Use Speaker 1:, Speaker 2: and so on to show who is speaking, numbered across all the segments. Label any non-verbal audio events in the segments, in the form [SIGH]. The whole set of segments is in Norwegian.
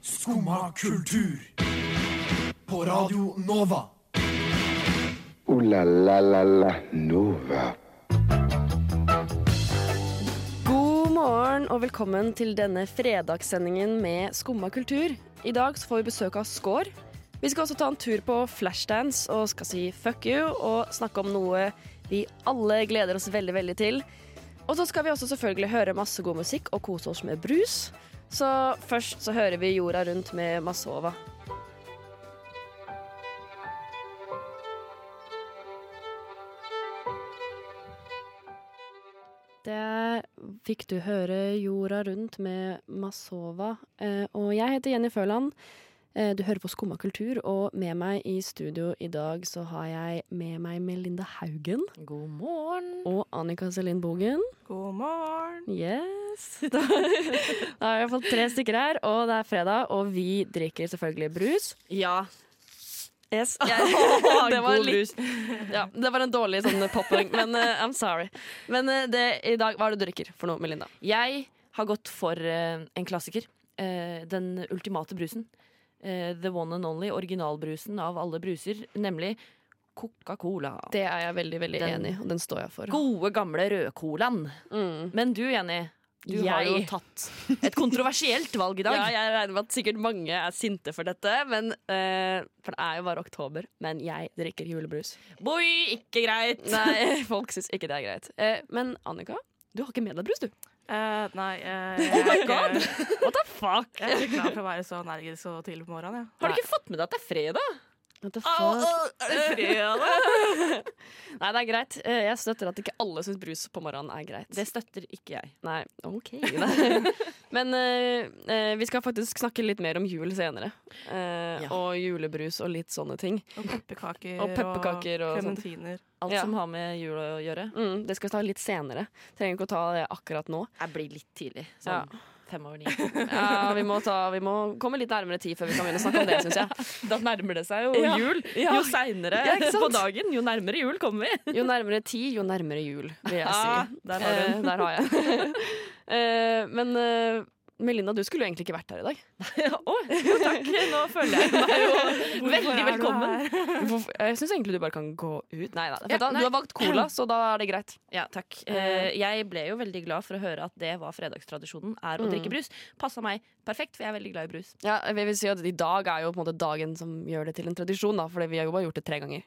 Speaker 1: Skumma kultur. På Radio Nova.
Speaker 2: Ooh la la la la Nova.
Speaker 3: God morgen og velkommen til denne fredagssendingen med Skumma kultur. I dag så får vi besøk av Skår. Vi skal også ta en tur på flashdance og skal si fuck you og snakke om noe vi alle gleder oss veldig, veldig til. Og så skal vi også selvfølgelig høre masse god musikk og kose oss med brus. Så først så hører vi Jorda rundt med Masova. Det fikk du høre jorda rundt med Masova. Eh, Og jeg heter Jenny Føland. Eh, Du hører på Skumma kultur, og med meg i studio i dag så har jeg med meg Melinda Haugen
Speaker 4: God morgen.
Speaker 3: og Annika Selin Bogen.
Speaker 4: God morgen.
Speaker 3: Yes! [LAUGHS] Da da har jeg fått tre stykker her, og det er fredag, og vi drikker selvfølgelig brus.
Speaker 4: Ja. [LAUGHS]
Speaker 3: Yes. [LAUGHS]
Speaker 4: det var
Speaker 3: god
Speaker 4: litt
Speaker 3: Ja, det var en dårlig sånn popping, men eh, I'm sorry. Men eh, det, i dag, hva er det du drikker for noe, Melinda?
Speaker 4: Jeg har gått for eh, en klassiker. Eh, den ultimate brusen. Eh, the one and only originalbrusen av alle bruser, nemlig Coca-Cola.
Speaker 3: Det er jeg veldig veldig
Speaker 4: Den-
Speaker 3: enig i, og den står jeg for.
Speaker 4: Gode, gamle rød-colaen.
Speaker 3: Mm.
Speaker 4: Men du, Jenny, du har jo
Speaker 3: Jeg.
Speaker 4: tatt et kontroversielt valg [LAUGHS] i dag.
Speaker 3: Ja, jeg regner med at sikkert mange er sinte for dette, men, eh, for det er jo bare oktober. Men jeg drikker julebrus.
Speaker 4: Boy, ikke greit.
Speaker 3: Nei, [LAUGHS] folk syns ikke det er greit. Eh, men Annika, du har ikke med deg brus, du.
Speaker 5: Eh, nei, [LAUGHS] eh, jeg, er ikke,
Speaker 3: What the fuck?
Speaker 5: jeg er ikke klar for å være så energisk og tidlig på morgenen. Ja.
Speaker 4: Har du ikke fått med deg at det er fredag?
Speaker 3: What the
Speaker 4: Au,
Speaker 3: fuck?
Speaker 4: au, er det fredag?
Speaker 3: Nei, det er greit. Eh, jeg støtter at ikke alle syns brus på morgenen er greit.
Speaker 4: Det støtter ikke jeg.
Speaker 3: Nei, [LAUGHS] OK. da. Men eh, eh, vi skal faktisk snakke litt mer om jul senere. Eh,
Speaker 4: Ja.
Speaker 3: Og julebrus og litt sånne ting.
Speaker 5: Og pepperkaker
Speaker 3: Og pepperkaker og sånt.
Speaker 5: klementiner.
Speaker 4: Alt
Speaker 3: Ja.
Speaker 4: som har med jul å gjøre.
Speaker 3: Mm, det skal vi ta litt senere. Trenger ikke å ta det akkurat nå.
Speaker 4: Jeg blir litt tidlig.
Speaker 3: sånn
Speaker 4: fem over ni.
Speaker 3: Ja, vi må, ta, vi må komme litt nærmere tid før vi kan begynne å snakke om det, syns jeg.
Speaker 4: [LAUGHS] Da nærmer det seg jo
Speaker 3: Ja.
Speaker 4: jul.
Speaker 3: Ja.
Speaker 4: Jo seinere
Speaker 3: Ja, ikke sant?
Speaker 4: [LAUGHS] på dagen, jo nærmere jul kommer vi.
Speaker 3: Jo nærmere tid, jo nærmere jul, vil jeg si.
Speaker 4: Ah, der har du
Speaker 3: Eh,
Speaker 4: den.
Speaker 3: der har jeg. [LAUGHS] Eh, men eh, Melinda, du skulle jo egentlig ikke vært her i dag.
Speaker 4: Å, jo takk. Nå føler jeg meg jo
Speaker 5: [LAUGHS] Hvorfor
Speaker 4: veldig
Speaker 5: er du
Speaker 4: velkommen.
Speaker 5: her?
Speaker 3: Hvorfor- Jeg syns egentlig du bare kan gå ut. Nei, nei, for
Speaker 4: Ja,
Speaker 3: da,
Speaker 4: nei.
Speaker 3: du har valgt cola, så da er det greit.
Speaker 4: Ja, takk. Eh, jeg ble jo veldig glad for å høre at det var fredagstradisjonen, er å
Speaker 3: Mm.
Speaker 4: drikke brus. Passa meg perfekt, for jeg er veldig glad i brus.
Speaker 3: Ja, jeg vil si at I dag er jo på en måte dagen som gjør det til en tradisjon, da, fordi vi har jo bare gjort det tre ganger.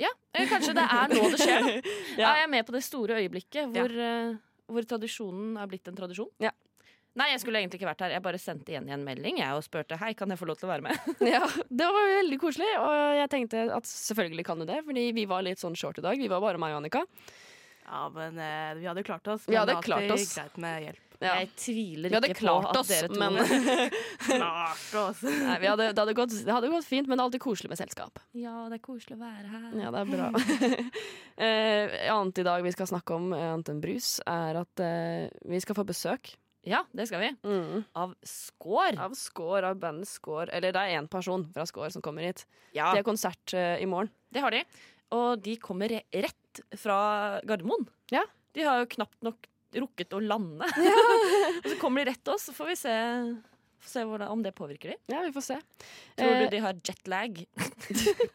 Speaker 4: Ja, eh, kanskje det er nå det [LAUGHS] skjer, da.
Speaker 3: [LAUGHS] Ja.
Speaker 4: Er jeg med på det store øyeblikket hvor, eh, hvor tradisjonen er blitt en tradisjon?
Speaker 3: Ja.
Speaker 4: Nei, jeg skulle egentlig ikke vært her. Jeg bare sendte igjen i en melding jeg og spurte hei, kan jeg få lov til å være med.
Speaker 3: Ja, Det var jo veldig koselig, og jeg tenkte at selvfølgelig kan du det, fordi vi var litt sånn short i dag. Vi var bare meg og Annika.
Speaker 5: Ja, men eh, vi hadde klart oss.
Speaker 3: Vi
Speaker 5: men
Speaker 3: hadde
Speaker 5: det er alltid
Speaker 3: klart oss.
Speaker 5: Greit med
Speaker 4: [LAUGHS]
Speaker 5: hjelp.
Speaker 3: Ja.
Speaker 4: Jeg tviler
Speaker 3: Vi hadde
Speaker 4: ikke på
Speaker 3: klart
Speaker 4: at
Speaker 3: oss,
Speaker 4: dere to
Speaker 3: men
Speaker 4: [LAUGHS]
Speaker 5: Klart oss.
Speaker 3: Nei, vi hadde, det, hadde gått, det hadde gått fint, men det er alltid koselig med selskap.
Speaker 4: Ja, det er koselig å være her.
Speaker 3: Ja, det er
Speaker 4: [LAUGHS]
Speaker 3: bra. [LAUGHS] eh, annet i dag vi skal snakke om, eh, annet enn brus, er at eh, vi skal få besøk
Speaker 4: Ja, det skal vi. Av Skår.
Speaker 3: av Skår, av bandet Skår. Eller det er én person fra Skår som kommer hit.
Speaker 4: Ja,
Speaker 3: De
Speaker 4: det,
Speaker 3: har konsert eh, i morgen.
Speaker 4: har de. Og de kommer re- rett fra Gardermoen.
Speaker 3: Ja.
Speaker 4: De har jo knapt nok rukket å lande. [LAUGHS] og så kommer de rett til oss, så får vi se, får se hvordan, om det påvirker de.
Speaker 3: Ja, vi får se.
Speaker 4: Tror
Speaker 3: Eh,
Speaker 4: du de har [LAUGHS] jetlag?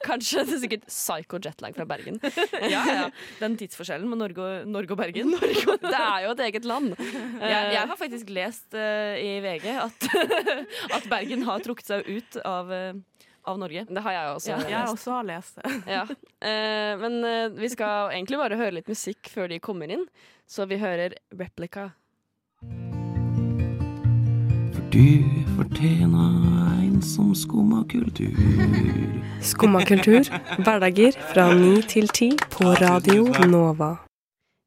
Speaker 3: Kanskje det er
Speaker 4: [LAUGHS]
Speaker 3: sikkert psycho jetlag fra Bergen.
Speaker 4: ja, ja. Den tidsforskjellen med Norge og, Norge og Bergen. [LAUGHS]
Speaker 3: Det er jo et eget land.
Speaker 4: Jeg, jeg har faktisk lest eh, i VG at, [LAUGHS] at Bergen har trukket seg ut av, eh, [LAUGHS] av Norge.
Speaker 3: Det har jeg også.
Speaker 4: Ja,
Speaker 3: [LAUGHS] lest.
Speaker 5: Jeg også har lest det.
Speaker 3: Ja. Eh, men eh, vi skal egentlig bare høre litt musikk før de kommer inn, så vi hører Replica.
Speaker 6: For du fortjener en som skummer kultur.
Speaker 7: Skummakultur. Hverdager fra 9 til 10 på Radio Nova.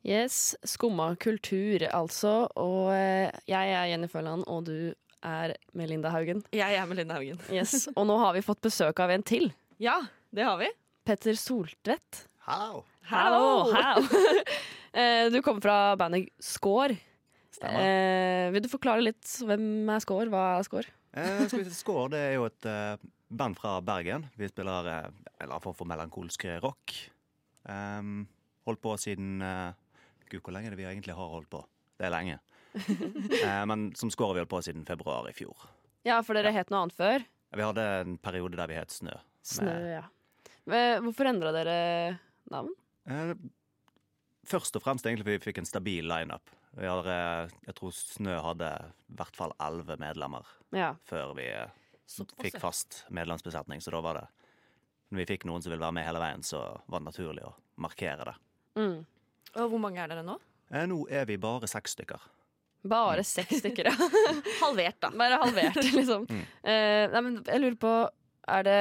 Speaker 3: Yes, skumma kultur, altså. Og eh, jeg er Jenny Følland, og du er Melinda Haugen.
Speaker 4: Jeg er Melinda Haugen.
Speaker 3: Yes, [LAUGHS] Og nå har vi fått besøk av en til.
Speaker 4: Ja, det har vi.
Speaker 3: Petter Soltvedt.
Speaker 8: How?
Speaker 3: Hallo!
Speaker 4: [LAUGHS]
Speaker 3: [LAUGHS] Eh, du kommer fra bandet Skår.
Speaker 8: Stemmer.
Speaker 3: Eh, vil du forklare litt hvem er Skår? Hva er Skår?
Speaker 8: Eh, skal vi se, Skår det er jo et eh, band fra Bergen. Vi spiller eh, en eller annen form for melankolsk rock. Em, holdt på siden eh, Gud, hvor lenge er det vi egentlig har holdt på? Det er lenge. Eh, men som Skår har vi holdt på siden februar i fjor.
Speaker 3: Ja, for dere het noe annet før.
Speaker 8: Vi hadde en periode der vi het Snø.
Speaker 3: Snø, ja. Men Hvorfor endra dere navn?
Speaker 8: Eh, Først og fremst egentlig fordi vi fikk en stabil lineup. Vi har, eh, Jeg tror Snø hadde i hvert fall elleve medlemmer
Speaker 3: Ja.
Speaker 8: før vi eh, fikk fast medlemsbesetning, så da var det Når vi fikk noen som ville være med hele veien, så var det naturlig å markere det.
Speaker 3: Mm.
Speaker 4: Og hvor mange er dere nå?
Speaker 8: Eh, Nå er vi bare seks stykker.
Speaker 3: Bare seks stykker, ja.
Speaker 4: Halvert, da.
Speaker 3: Bare
Speaker 8: [LAUGHS]
Speaker 3: halvert, liksom.
Speaker 8: Mm.
Speaker 3: Eh, nei, men jeg lurer på er det,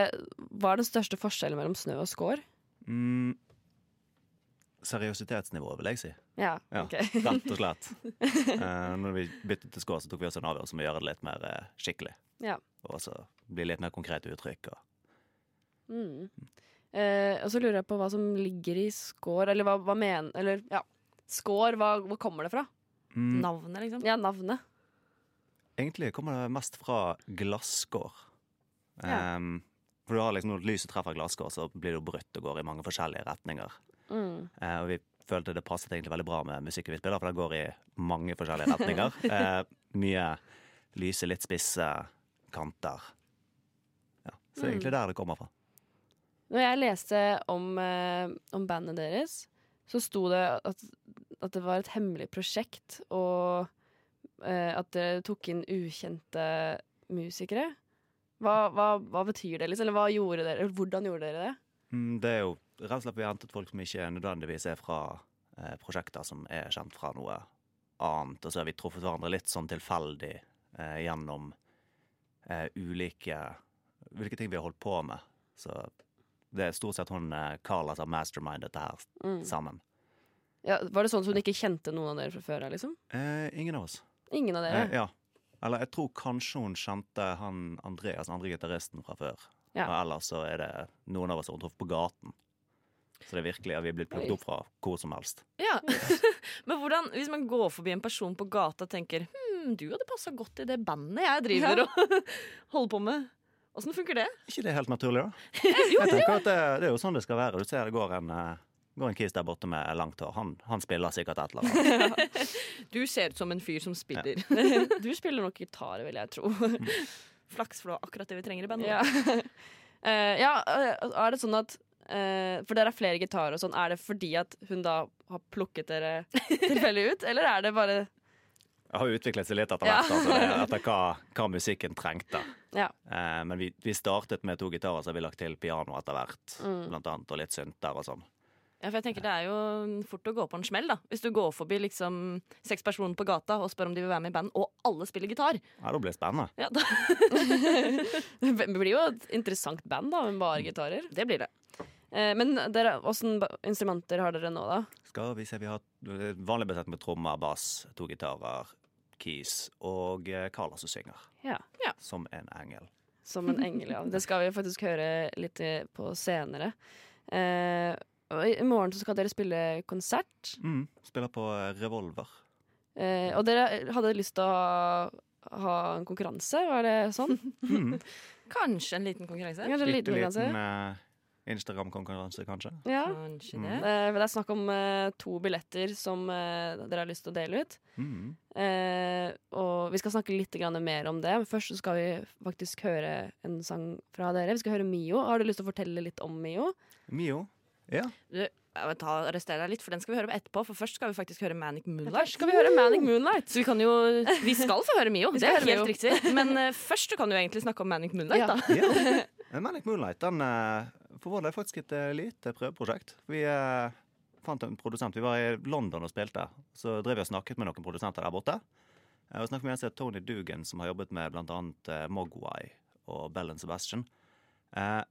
Speaker 3: Hva er den største forskjellen mellom snø og skår?
Speaker 8: Mm. Seriøsitetsnivået, vil jeg si.
Speaker 3: Ja,
Speaker 8: Ja.
Speaker 3: ok. [LAUGHS]
Speaker 8: Rett og slett. Eh, når vi byttet til skår, så tok vi også en avgjørelse om å gjøre det litt mer eh, skikkelig.
Speaker 3: Ja.
Speaker 8: Og så bli litt mer konkrete uttrykk. Og
Speaker 3: Mm. Eh, og så lurer jeg på hva som ligger i skår, eller hva, hva mener Eller ja, skår, hva, hvor kommer det fra?
Speaker 8: Mm,
Speaker 4: Navnet, liksom.
Speaker 3: Ja, navnet.
Speaker 8: Egentlig kommer det mest fra glasskår.
Speaker 3: Ja.
Speaker 8: Ehm, for du har liksom Når lyset treffer glasskår, så blir det jo brutt og går i mange forskjellige retninger.
Speaker 3: Mm.
Speaker 8: Eh, og vi følte det passet egentlig veldig bra med musikken vi spiller, for den går i mange forskjellige retninger. Eh, mye lyse, litt spisse kanter. Ja, så det er egentlig der det kommer fra.
Speaker 3: Når jeg leste om, eh, om bandet deres, så sto det at, at det var et hemmelig prosjekt, og eh, at dere tok inn ukjente musikere. Hva, hva, hva betyr det, liksom? Eller hva gjorde dere, eller hvordan gjorde dere det?
Speaker 8: Mm, det er jo rett og slett vi har hentet folk som ikke nødvendigvis er fra eh, prosjekter som er kjent fra noe annet, og så har vi truffet hverandre litt sånn tilfeldig eh, gjennom eh, ulike Hvilke ting vi har holdt på med. Så det er stort sett hun eh, Carla som har mastermindet det her
Speaker 4: Mm.
Speaker 3: Mm.
Speaker 8: sammen.
Speaker 3: Ja, var det sånn at hun ikke kjente noen av dere fra før? her, Liksom?
Speaker 8: Eh, ingen av oss.
Speaker 3: Ingen av dere?
Speaker 8: Eh, ja. Eller jeg tror kanskje hun kjente han Andreas, den andre gitaristen, fra før.
Speaker 3: Ja.
Speaker 8: Og ellers så er det noen av oss som hun truffet på gaten. Så det er virkelig, ja, vi er blitt plukket
Speaker 3: Oi.
Speaker 8: opp fra hvor som helst.
Speaker 4: Ja. [LAUGHS] Men hvordan, hvis man går forbi en person på gata og tenker Hm, du hadde passa godt i det bandet jeg driver og [LAUGHS] holder på med. Åssen funker det?
Speaker 8: ikke det helt naturlig, da? Jeg tenker at det, det er jo sånn det skal være. Du ser det går en, eh, går en kis der borte med langt hår. Han, han spiller sikkert et eller annet.
Speaker 4: Du ser ut som en fyr som spiller. [LAUGHS]
Speaker 3: Du spiller nok gitar, vil jeg tro.
Speaker 4: Flaks, for det var akkurat det vi trenger i bandet.
Speaker 3: Ja. [LAUGHS] Eh, ja, eh, er det sånn at eh, For dere er flere gitarer og sånn. Er det fordi at hun da har plukket
Speaker 4: [LAUGHS]
Speaker 3: dere tilfeldig ut, eller er det bare
Speaker 8: Det har jo utviklet seg litt etter
Speaker 3: Ja.
Speaker 8: hvert, altså, etter hva, hva musikken trengte.
Speaker 3: Ja.
Speaker 8: Eh, men vi, vi startet med to gitarer, så har vi lagt til piano etter hvert, blant annet, og litt synter og sånn.
Speaker 4: Ja, for jeg tenker Det er jo fort å gå på en smell. da Hvis du går forbi liksom seks personer på gata og spør om de vil være med i band, og alle spiller gitar.
Speaker 8: Ja, det blir spennende.
Speaker 4: Ja, da,
Speaker 3: [LAUGHS] Det blir jo et interessant band, da, med bare gitarer.
Speaker 4: det blir det.
Speaker 3: Eh, men dere, åssen ba- instrumenter har dere nå, da?
Speaker 8: Skal vi se, vi har eh, vanlig besett med trommer, bass, to gitarer, keys og eh, Carla som synger.
Speaker 3: Ja.
Speaker 8: Som en engel.
Speaker 3: Som en engel, ja. Det skal vi faktisk høre litt eh, på senere. Eh, og I i morgen så skal dere spille konsert.
Speaker 8: Mm. Spiller på eh, revolver.
Speaker 3: Eh, og dere hadde lyst til å ha, ha en konkurranse, var det sånn?
Speaker 4: [LAUGHS]
Speaker 8: Mm.
Speaker 4: Kanskje en liten konkurranse.
Speaker 3: Kanskje en
Speaker 8: Bitte
Speaker 3: liten konkurranse?
Speaker 8: liten eh, Instagram-konkurranse, kanskje.
Speaker 3: Ja.
Speaker 4: Kanskje det.
Speaker 8: Mm.
Speaker 3: Eh, men det er snakk om eh, to billetter som eh, dere har lyst til å dele ut.
Speaker 8: Mm.
Speaker 3: Eh, og vi skal snakke litt grann mer om det, men først så skal vi faktisk høre en sang fra dere. Vi skal høre Mio. Har du lyst til å fortelle litt om Mio?
Speaker 8: Mio. Ja.
Speaker 4: Du, jeg vil ta, arrestere deg litt, for den skal vi høre på etterpå. For først skal vi faktisk høre Manic Moonlight.
Speaker 3: Skal vi høre Manic Moonlight?
Speaker 4: Så vi kan jo [LAUGHS] Vi skal få høre Mio, det
Speaker 3: skal
Speaker 4: er
Speaker 3: høre
Speaker 4: helt
Speaker 3: Mio.
Speaker 4: riktig. Men eh, først så kan du egentlig snakke om Manic
Speaker 3: [LAUGHS]
Speaker 4: Moonlight,
Speaker 3: Ja.
Speaker 4: da.
Speaker 8: ja. [LAUGHS] Men Manic Moonlight den, eh, for vår del er faktisk et eh, lite prøveprosjekt. Vi eh, fant en produsent. Vi var i London og spilte. Så drev vi og snakket med noen produsenter der borte. Eh, Og snakket med en som heter Tony Dugan, som har jobbet med bl.a. Mogwai og Bell and Sebastian. Eh,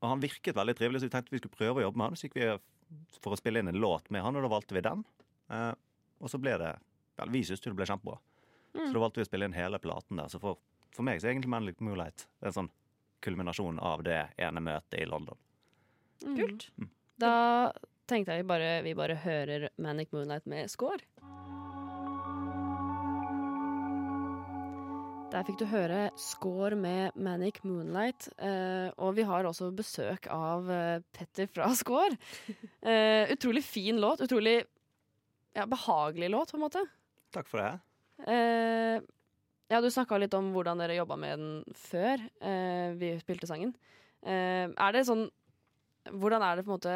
Speaker 8: Og han virket veldig trivelig, så vi tenkte vi skulle prøve å jobbe med han. Så gikk vi for å spille inn en låt med han, og da valgte vi den. Eh, Og så ble det Vel, vi syntes jo det ble kjempebra. Så da valgte vi å spille inn hele platen der. Så for, for meg så er egentlig Manic Moonlight en sånn kulminasjon av det ene møtet i London.
Speaker 4: Kult.
Speaker 3: Da tenkte jeg vi bare, vi bare hører Manic Moonlight med score. Der fikk du høre score med Manic Moonlight. eh, og vi har også besøk av eh, Petter fra Score. Eh, utrolig fin låt. Utrolig ja, behagelig låt, på en måte.
Speaker 8: Takk for det.
Speaker 3: Eh, Ja, du snakka litt om hvordan dere jobba med den før eh, vi spilte sangen. Eh, er det sånn Hvordan er det på en måte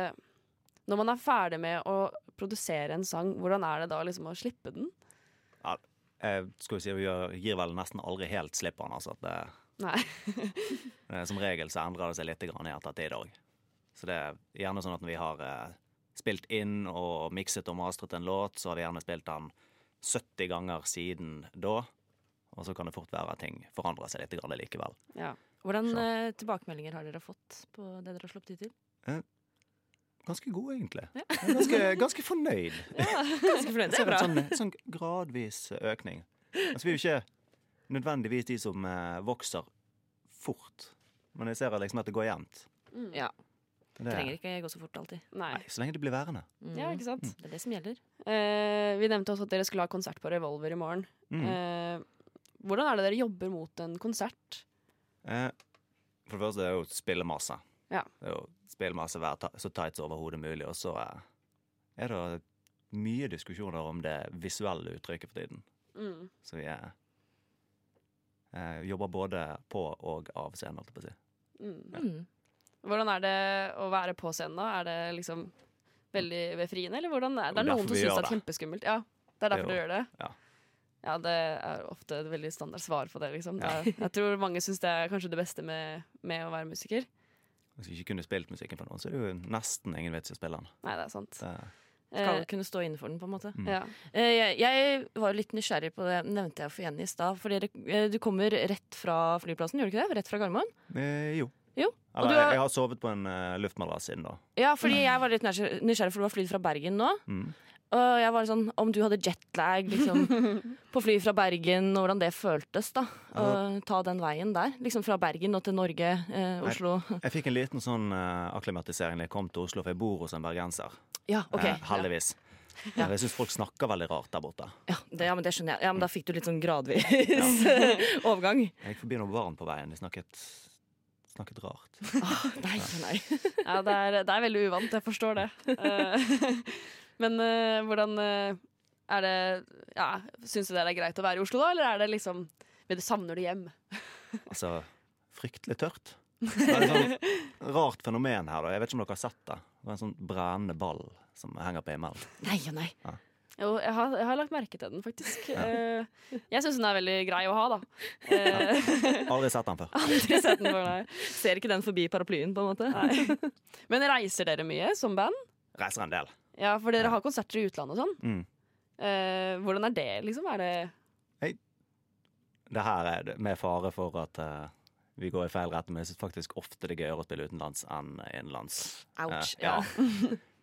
Speaker 3: Når man er ferdig med å produsere en sang, hvordan er det da liksom å slippe den?
Speaker 8: Eh, skal vi si, vi gjør, gir vel nesten aldri helt slipp på den. Altså, at det,
Speaker 3: Nei.
Speaker 8: [LAUGHS] Eh, Som regel så endrer det seg litt grann i ettertid òg. Så det er gjerne sånn at når vi har eh, spilt inn og mikset og mastret en låt, så har vi gjerne spilt den 70 ganger siden da. Og så kan det fort være at ting forandrer seg litt grann likevel.
Speaker 3: Ja.
Speaker 4: Hvordan
Speaker 8: Så.
Speaker 4: eh, tilbakemeldinger har dere fått på det dere har sluppet ut til?
Speaker 8: Ganske god, egentlig. Jeg er Ganske, ganske fornøyd.
Speaker 4: Ganske fornøyd.
Speaker 8: Jeg
Speaker 4: Det er
Speaker 8: ser
Speaker 4: bra.
Speaker 8: en sånn, sånn gradvis økning. Altså, vi er jo ikke nødvendigvis de som eh, vokser fort, men jeg ser liksom at det går jevnt.
Speaker 4: Ja,
Speaker 8: Det-
Speaker 4: Trenger ikke gå så fort alltid.
Speaker 3: Nei.
Speaker 8: Nei, så lenge det blir værende.
Speaker 4: Mm.
Speaker 3: Ja, ikke sant?
Speaker 4: Det er det som gjelder.
Speaker 3: Eh, vi nevnte også at dere skulle ha konsert på Revolver i morgen.
Speaker 8: Mm.
Speaker 3: Eh, hvordan er det dere jobber mot en konsert?
Speaker 8: Eh, For det første er det jo å spille masse.
Speaker 3: Ja.
Speaker 8: Det er jo å spille masse, være ta- så tight som overhodet mulig. Og så eh, er det mye diskusjoner om det visuelle uttrykket for tiden.
Speaker 3: Mm.
Speaker 8: Så vi eh, eh, jobber både på og av scenen, holdt jeg på å si.
Speaker 3: Mm.
Speaker 4: Mm.
Speaker 3: Hvordan er det å være på scenen da? Er det liksom veldig befriende, eller hvordan er det?
Speaker 8: Det
Speaker 3: Det
Speaker 8: er
Speaker 3: er
Speaker 8: derfor
Speaker 3: noen som
Speaker 8: vi
Speaker 3: syns
Speaker 8: gjør
Speaker 3: det er kjempeskummelt. Ja, det er
Speaker 8: Det
Speaker 3: derfor
Speaker 8: er
Speaker 3: du
Speaker 8: jo-
Speaker 3: gjør det?
Speaker 8: ja.
Speaker 3: Ja, det er ofte et veldig standard svar på det, liksom. Det er, jeg tror mange syns det er kanskje det beste med, med å være musiker.
Speaker 8: Hvis vi ikke kunne spilt musikken for noen, så er det jo nesten ingen vits i å spille den.
Speaker 3: Nei, det er sant.
Speaker 8: Det,
Speaker 4: Skal
Speaker 3: Eh,
Speaker 4: kunne stå innenfor den, på en måte.
Speaker 8: Mm.
Speaker 3: ja.
Speaker 4: Eh, Jeg, jeg var jo litt nysgjerrig på det, nevnte jeg for Jenny i stad. For dere, eh, du kommer rett fra flyplassen, gjør du ikke det? Rett fra Gardermoen?
Speaker 8: eh, jo.
Speaker 4: Jo, og
Speaker 8: Eller,
Speaker 4: du har-
Speaker 8: jeg har sovet på en eh, luftmadrass siden da.
Speaker 4: Ja, fordi jeg var litt nysgjerrig, nysgjerrig, for du har flydd fra Bergen nå.
Speaker 8: Mm.
Speaker 4: Og jeg var sånn, om du hadde jetlag
Speaker 3: [LAUGHS]
Speaker 4: liksom, på fly fra Bergen, og hvordan det føltes da. Å ta den veien der, liksom fra Bergen og til Norge, eh, Oslo.
Speaker 8: Jeg fikk en liten sånn eh, akklimatisering da jeg kom til Oslo, for jeg bor hos en bergenser.
Speaker 4: Ja, ok.
Speaker 8: Eh, heldigvis.
Speaker 4: Ja.
Speaker 8: Jeg syns folk snakker veldig rart der
Speaker 4: [LAUGHS]
Speaker 8: borte.
Speaker 4: Ja, det, ja, men det skjønner jeg. Ja, men da fikk du litt sånn gradvis [LAUGHS] overgang.
Speaker 8: Jeg gikk forbi noen barn på veien. De snakket, snakket rart.
Speaker 4: [LAUGHS] Nei, nei.
Speaker 3: ja det, er, det er veldig uvant, jeg forstår det. Eh, [LAUGHS] men eh, hvordan eh, er det ja, Syns du det er greit å være i Oslo da, eller er det liksom vil du Savner du hjem?
Speaker 8: Altså, fryktelig tørt. Det er et sånt rart fenomen her. da Jeg vet ikke om dere har sett det. Det er En sånn brennende ball som henger på himmelen.
Speaker 4: Nei og nei.
Speaker 3: Jo, jeg har, jeg har lagt merke til den, faktisk. Eh, jeg syns den er veldig grei å ha, da. Eh, [LAUGHS]
Speaker 8: Aldri sett den før.
Speaker 4: [LAUGHS]
Speaker 3: aldri sett den før, nei.
Speaker 4: Ser ikke den forbi paraplyen, på en måte?
Speaker 3: Nei. [LAUGHS] Men reiser dere mye som band?
Speaker 8: Reiser en del.
Speaker 3: Ja, for dere har konserter i utlandet og sånn.
Speaker 8: Mm.
Speaker 3: Eh, hvordan er det, liksom? Er det
Speaker 8: Det her er det- med fare for at eh, vi går i feil retning, men jeg syns faktisk ofte det er gøyere å spille utenlands enn innenlands.
Speaker 4: Ouch,
Speaker 8: Eh,
Speaker 3: [LAUGHS]
Speaker 8: ja.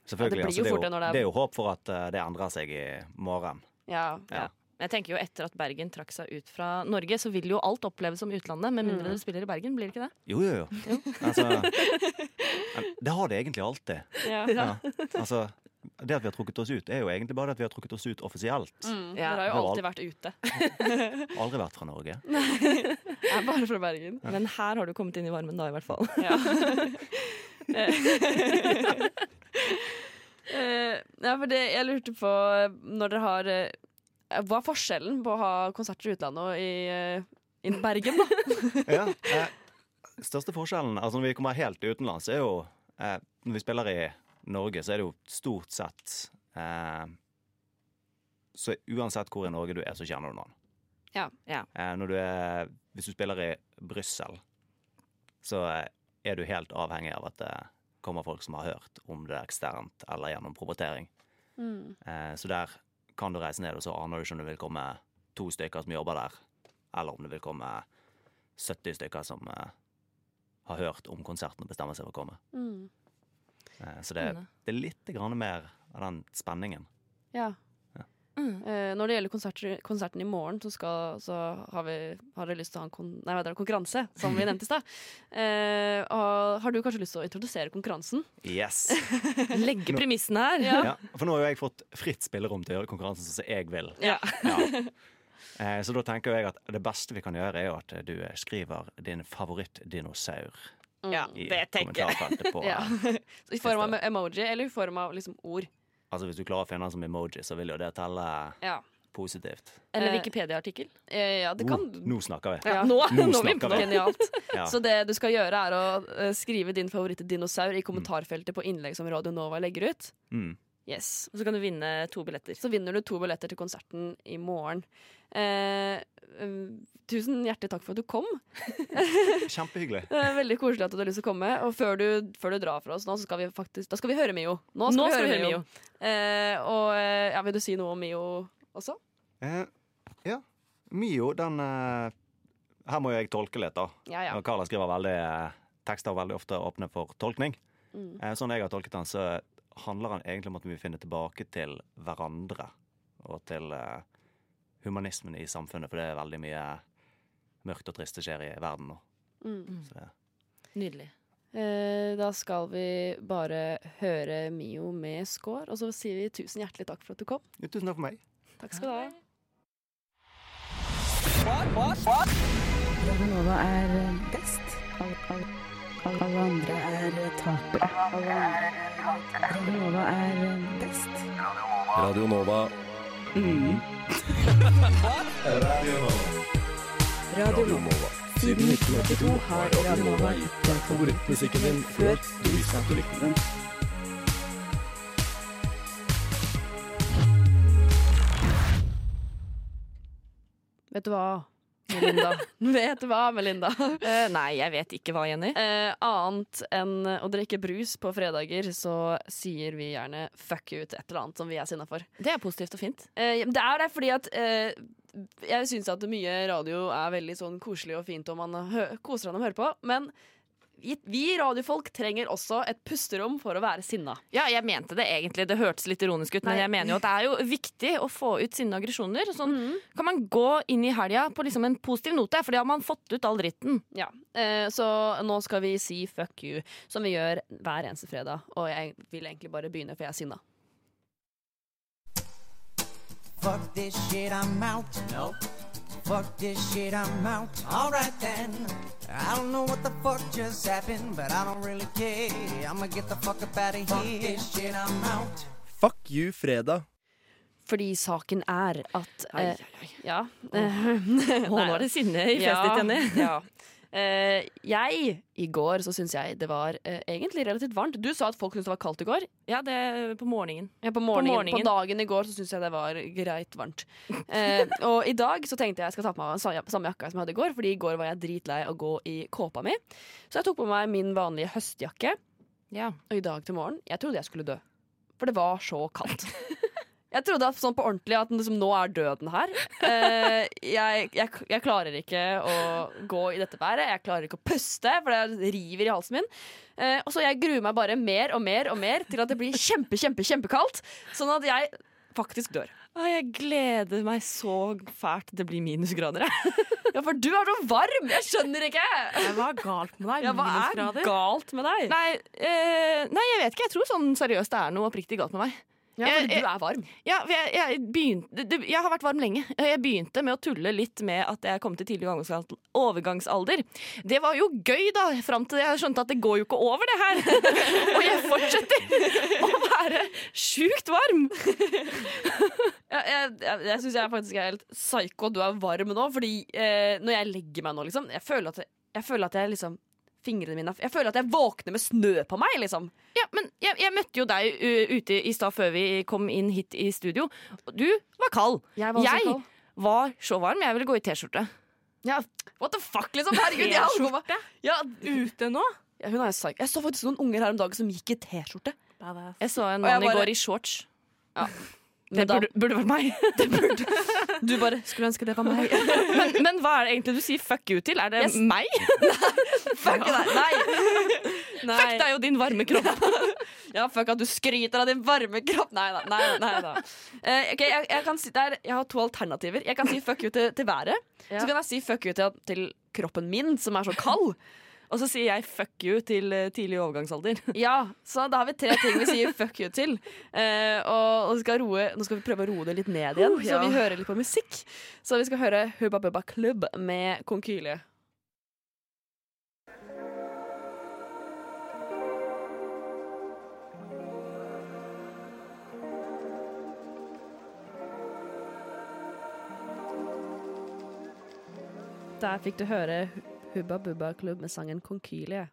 Speaker 8: Selvfølgelig.
Speaker 3: Ja, det blir
Speaker 8: altså,
Speaker 3: jo
Speaker 8: det, er jo,
Speaker 3: fortere når det er-
Speaker 8: det er jo håp for at eh, det endrer seg i morgen.
Speaker 3: Ja.
Speaker 8: Ja.
Speaker 4: Men Jeg tenker jo Etter at Bergen trakk seg ut fra Norge, så vil jo alt oppleves som utlandet. Med
Speaker 3: Mm.
Speaker 4: mindre dere spiller i Bergen, blir det ikke det?
Speaker 8: Jo, jo, jo. Altså,
Speaker 3: [LAUGHS]
Speaker 8: men det har det egentlig alltid.
Speaker 3: ja.
Speaker 8: Ja. Altså, det at vi har trukket oss ut, er jo egentlig bare det at vi har trukket oss ut offisielt.
Speaker 3: Mm,
Speaker 4: Ja.
Speaker 3: Dere har jo
Speaker 8: Det var
Speaker 3: alltid vært ute.
Speaker 8: Aldri vært fra Norge.
Speaker 3: Jeg er bare fra Bergen.
Speaker 4: Men her har du kommet inn i varmen, da, i hvert fall.
Speaker 3: Ja. Eh, ja, for det, jeg lurte på eh, når dere har eh, Hva er forskjellen på å ha konserter i utlandet og i, eh, i Bergen, da?
Speaker 8: Ja, eh, største forskjellen altså når vi kommer helt utenlands, er jo eh, Når vi spiller i Norge, så er det jo stort sett eh, Så uansett hvor i Norge du er, så kjenner du noen.
Speaker 3: Ja.
Speaker 4: Ja.
Speaker 8: Eh, når du er, hvis du spiller i Brussel, så eh, er du helt avhengig av at det kommer folk som har hørt om det eksternt eller gjennom promotering.
Speaker 4: Mm.
Speaker 8: Eh, så der kan du reise ned, og så aner du ikke om det vil komme to stykker som jobber der, eller om det vil komme 70 stykker som eh, har hørt om konserten og bestemmer seg for å komme.
Speaker 4: Mm.
Speaker 8: Eh, så det,
Speaker 4: Spennende.
Speaker 8: det er litt grann mer av den spenningen.
Speaker 3: Ja.
Speaker 8: Ja.
Speaker 4: Mm.
Speaker 3: Eh, når det gjelder konserter, konserten i morgen, så, skal, så har, vi, har dere lyst til å ha en kon nei, hva heter det, konkurranse, som
Speaker 8: [LAUGHS]
Speaker 3: vi nevnte i stad. Eh, og har du kanskje lyst til å introdusere konkurransen?
Speaker 4: [LAUGHS]
Speaker 8: Yes!
Speaker 4: Legge premissene her. [LAUGHS]
Speaker 8: Ja, for nå har jo jeg fått fritt spillerom til å gjøre konkurransen sånn som jeg vil.
Speaker 3: Ja.
Speaker 8: Ja. Eh, Så da tenker jeg at det beste vi kan gjøre, er jo at du skriver din favorittdinosaur
Speaker 4: Ja,
Speaker 8: i
Speaker 4: det tenker jeg. [LAUGHS]
Speaker 8: kommentarfeltet på
Speaker 3: Ja. Så I form av emoji, eller i form av liksom ord.
Speaker 8: Altså Hvis du klarer å finne den som emoji, så vil jo det telle
Speaker 3: Ja.
Speaker 8: Positivt.
Speaker 4: Eller
Speaker 3: Eh,
Speaker 4: Wikipedia-artikkel.
Speaker 3: Eh, Ja, det kan
Speaker 8: Oh, nå snakker
Speaker 3: [LAUGHS]
Speaker 8: vi.
Speaker 3: ja.
Speaker 4: Nå,
Speaker 8: Nå
Speaker 4: nå er vi
Speaker 8: snakker vi.
Speaker 4: Genialt.
Speaker 8: Ja.
Speaker 3: Så det du skal gjøre, er å eh, skrive din favorittdinosaur i kommentarfeltet på innlegg som Radio Nova legger ut.
Speaker 8: Mm.
Speaker 3: Yes.
Speaker 4: Og så kan du vinne to billetter.
Speaker 3: Så vinner du to billetter til konserten i morgen. Eh, eh, tusen hjertelig takk for at du kom.
Speaker 8: Kjempehyggelig.
Speaker 3: Det er veldig koselig at du har lyst til å komme. Og før du, før du drar fra oss nå, så skal vi faktisk Da skal vi høre Mio. Nå skal, vi, høre Mio. Eh, og eh, ja, vil du si noe om Mio også?
Speaker 8: Eh, ja. Mio, den eh, Her må jeg tolke litt, da.
Speaker 3: Ja, ja.
Speaker 8: Og Carla skriver veldig eh, tekster veldig ofte åpne for tolkning.
Speaker 3: Mm.
Speaker 8: Eh, Sånn jeg har tolket den, så handler den egentlig om at vi finner tilbake til hverandre. Og til eh, humanismen i samfunnet, for det er veldig mye mørkt og trist som skjer i verden nå.
Speaker 3: Mm.
Speaker 8: Så det,
Speaker 4: [LAUGHS] Nydelig.
Speaker 3: Eh, da skal vi bare høre Mio med score, og så sier vi tusen hjertelig takk for at du kom.
Speaker 8: Jo, tusen takk for meg.
Speaker 3: Takk skal du ha.
Speaker 9: Ragnova er best. Alle, alle, alle, alle andre er tapere. Alle andre- Ragnova er best.
Speaker 1: Radio Nova.
Speaker 10: Mm.
Speaker 9: Radio Nova. Siden 1982 har Radio Nova gitt deg favorittmusikken din før du visste at du likte den.
Speaker 3: Vet du hva, Melinda? [LAUGHS] Vet du hva, Melinda?
Speaker 4: Eh, nei, jeg vet ikke hva, Jenny.
Speaker 3: Eh, annet enn å drikke brus på fredager, så sier vi gjerne fuck you til et eller annet som vi er sinna for.
Speaker 4: Det er positivt og fint.
Speaker 3: Eh, det er det fordi at eh, jeg syns at mye radio er veldig sånn koselig og fint, og man hø koser seg når man hører på, men vi, vi radiofolk trenger også et pusterom for å være sinna.
Speaker 4: Ja, jeg mente det egentlig. Det hørtes litt ironisk ut, men
Speaker 3: Nei.
Speaker 4: jeg mener jo at det er jo viktig å få ut sinne og aggresjoner. Sånn kan man gå inn i helga på liksom en positiv note, for da har man fått ut all dritten.
Speaker 3: Ja, eh, Så nå skal vi si fuck you, som vi gjør hver eneste fredag. Og jeg vil egentlig bare begynne, for jeg er sinna.
Speaker 10: Fuck this shit, I'm out. No. Fuck this shit, I'm out. Alright then. I don't know what the fuck just happened, but I don't really care. I'ma get the fuck up out of here. Fuck this shit, I'm out.
Speaker 1: Fuck you, fredag.
Speaker 3: Fordi saken er at eh, Ja. [LAUGHS]
Speaker 4: Å, nå er det sinne i
Speaker 3: Ja,
Speaker 4: fjeset ditt, Jenny.
Speaker 3: ja. Eh, jeg, i går, så syns jeg det var eh, egentlig relativt varmt. Du sa at folk syntes det var kaldt i går.
Speaker 4: Ja, det er på morgenen.
Speaker 3: Ja, på, morgenen, på,
Speaker 4: morgenen.
Speaker 3: dagen i går så syntes jeg det var greit varmt. Eh, og i dag så tenkte jeg jeg skal ta på meg sa- samme jakka som jeg hadde i går, Fordi i går var jeg dritlei av å gå i kåpa mi. Så jeg tok på meg min vanlige høstjakke,
Speaker 4: Ja.
Speaker 3: og i dag til morgen Jeg trodde jeg skulle dø. For det var så kaldt. Jeg trodde at sånn på ordentlig at liksom, nå er døden her. Eh, jeg, jeg, jeg klarer ikke å gå i dette været. Jeg klarer ikke å puste, for det river i halsen min. Eh, og så jeg gruer meg bare mer og mer og mer til at det blir kjempe, kjempe, kjempekaldt. Sånn at jeg faktisk dør.
Speaker 4: Å, jeg gleder meg så fælt det blir minusgrader. jeg.
Speaker 3: Ja, for du er så varm! Jeg skjønner ikke!
Speaker 5: Nei, Hva er galt med deg?
Speaker 3: Ja, hva er
Speaker 5: Minusgrader?
Speaker 3: galt med deg?
Speaker 4: Nei, eh, nei, jeg vet ikke. Jeg tror sånn seriøst det er noe oppriktig galt med meg.
Speaker 3: Ja, for du
Speaker 4: jeg-
Speaker 3: er varm.
Speaker 4: Ja, for jeg, jeg, begynte, det, jeg har vært varm lenge. Eh, Jeg begynte med å tulle litt med at jeg kom til tidlig overgangsal- overgangsalder. Det var jo gøy, da, fram til jeg skjønte at det går jo ikke over, det her. [LAUGHS] Og jeg fortsetter å være sjukt varm.
Speaker 3: Ja, jeg jeg, jeg syns jeg faktisk er helt psyko at du er varm nå, fordi eh, når jeg legger meg nå, liksom Jeg føler at jeg, jeg, føler at jeg liksom Fingrene mine er- Jeg føler at jeg våkner med snø på meg, liksom.
Speaker 4: Ja, men jeg, jeg møtte jo deg ø, ute i stad før vi kom inn hit i studio. Du var kald.
Speaker 3: Jeg var også kald.
Speaker 4: var så varm. Jeg ville gå i T-skjorte.
Speaker 3: Ja, what the fuck, liksom? Herregud, jeg holdt på meg. [LAUGHS] Ja,
Speaker 5: Ute nå?
Speaker 3: ja, hun er psyko. Jeg så faktisk noen unger her om dagen som gikk i T-skjorte.
Speaker 5: Badass.
Speaker 4: Jeg så en
Speaker 3: Og jeg
Speaker 4: mann i
Speaker 3: bare-
Speaker 4: går i shorts.
Speaker 3: Men
Speaker 4: Det
Speaker 3: da-
Speaker 4: burde, burde vært meg.
Speaker 3: Du bare skulle ønske det var meg.
Speaker 4: [LAUGHS] Men, men hva er det egentlig du sier fuck you til? Er det
Speaker 3: Yes. [LAUGHS]
Speaker 4: meg?
Speaker 3: Fuck deg! Nei. Nei.
Speaker 4: Fuck, det er jo din varme kropp.
Speaker 3: [LAUGHS] Ja, fuck at du skryter av din varme kropp! Nei da. Nei, da, nei, da. Eh, ok, jeg, jeg, kan si, det er- jeg har to alternativer. Jeg kan si fuck you til, til været. Så kan jeg si fuck you til, til kroppen min, som er så kald.
Speaker 4: Og så sier jeg fuck you til eh, tidlig overgangsalder. [LAUGHS]
Speaker 3: Ja, Så da har vi tre ting vi sier fuck you til. Eh, og og vi skal roe, nå skal vi prøve å roe det litt ned igjen,
Speaker 4: Uh, ja.
Speaker 3: så vi hører litt på musikk. Så vi skal høre Hubba Bubba Club med Konkyle. Der fikk du høre Hubba Bubba Klubb med sangen Konkylie.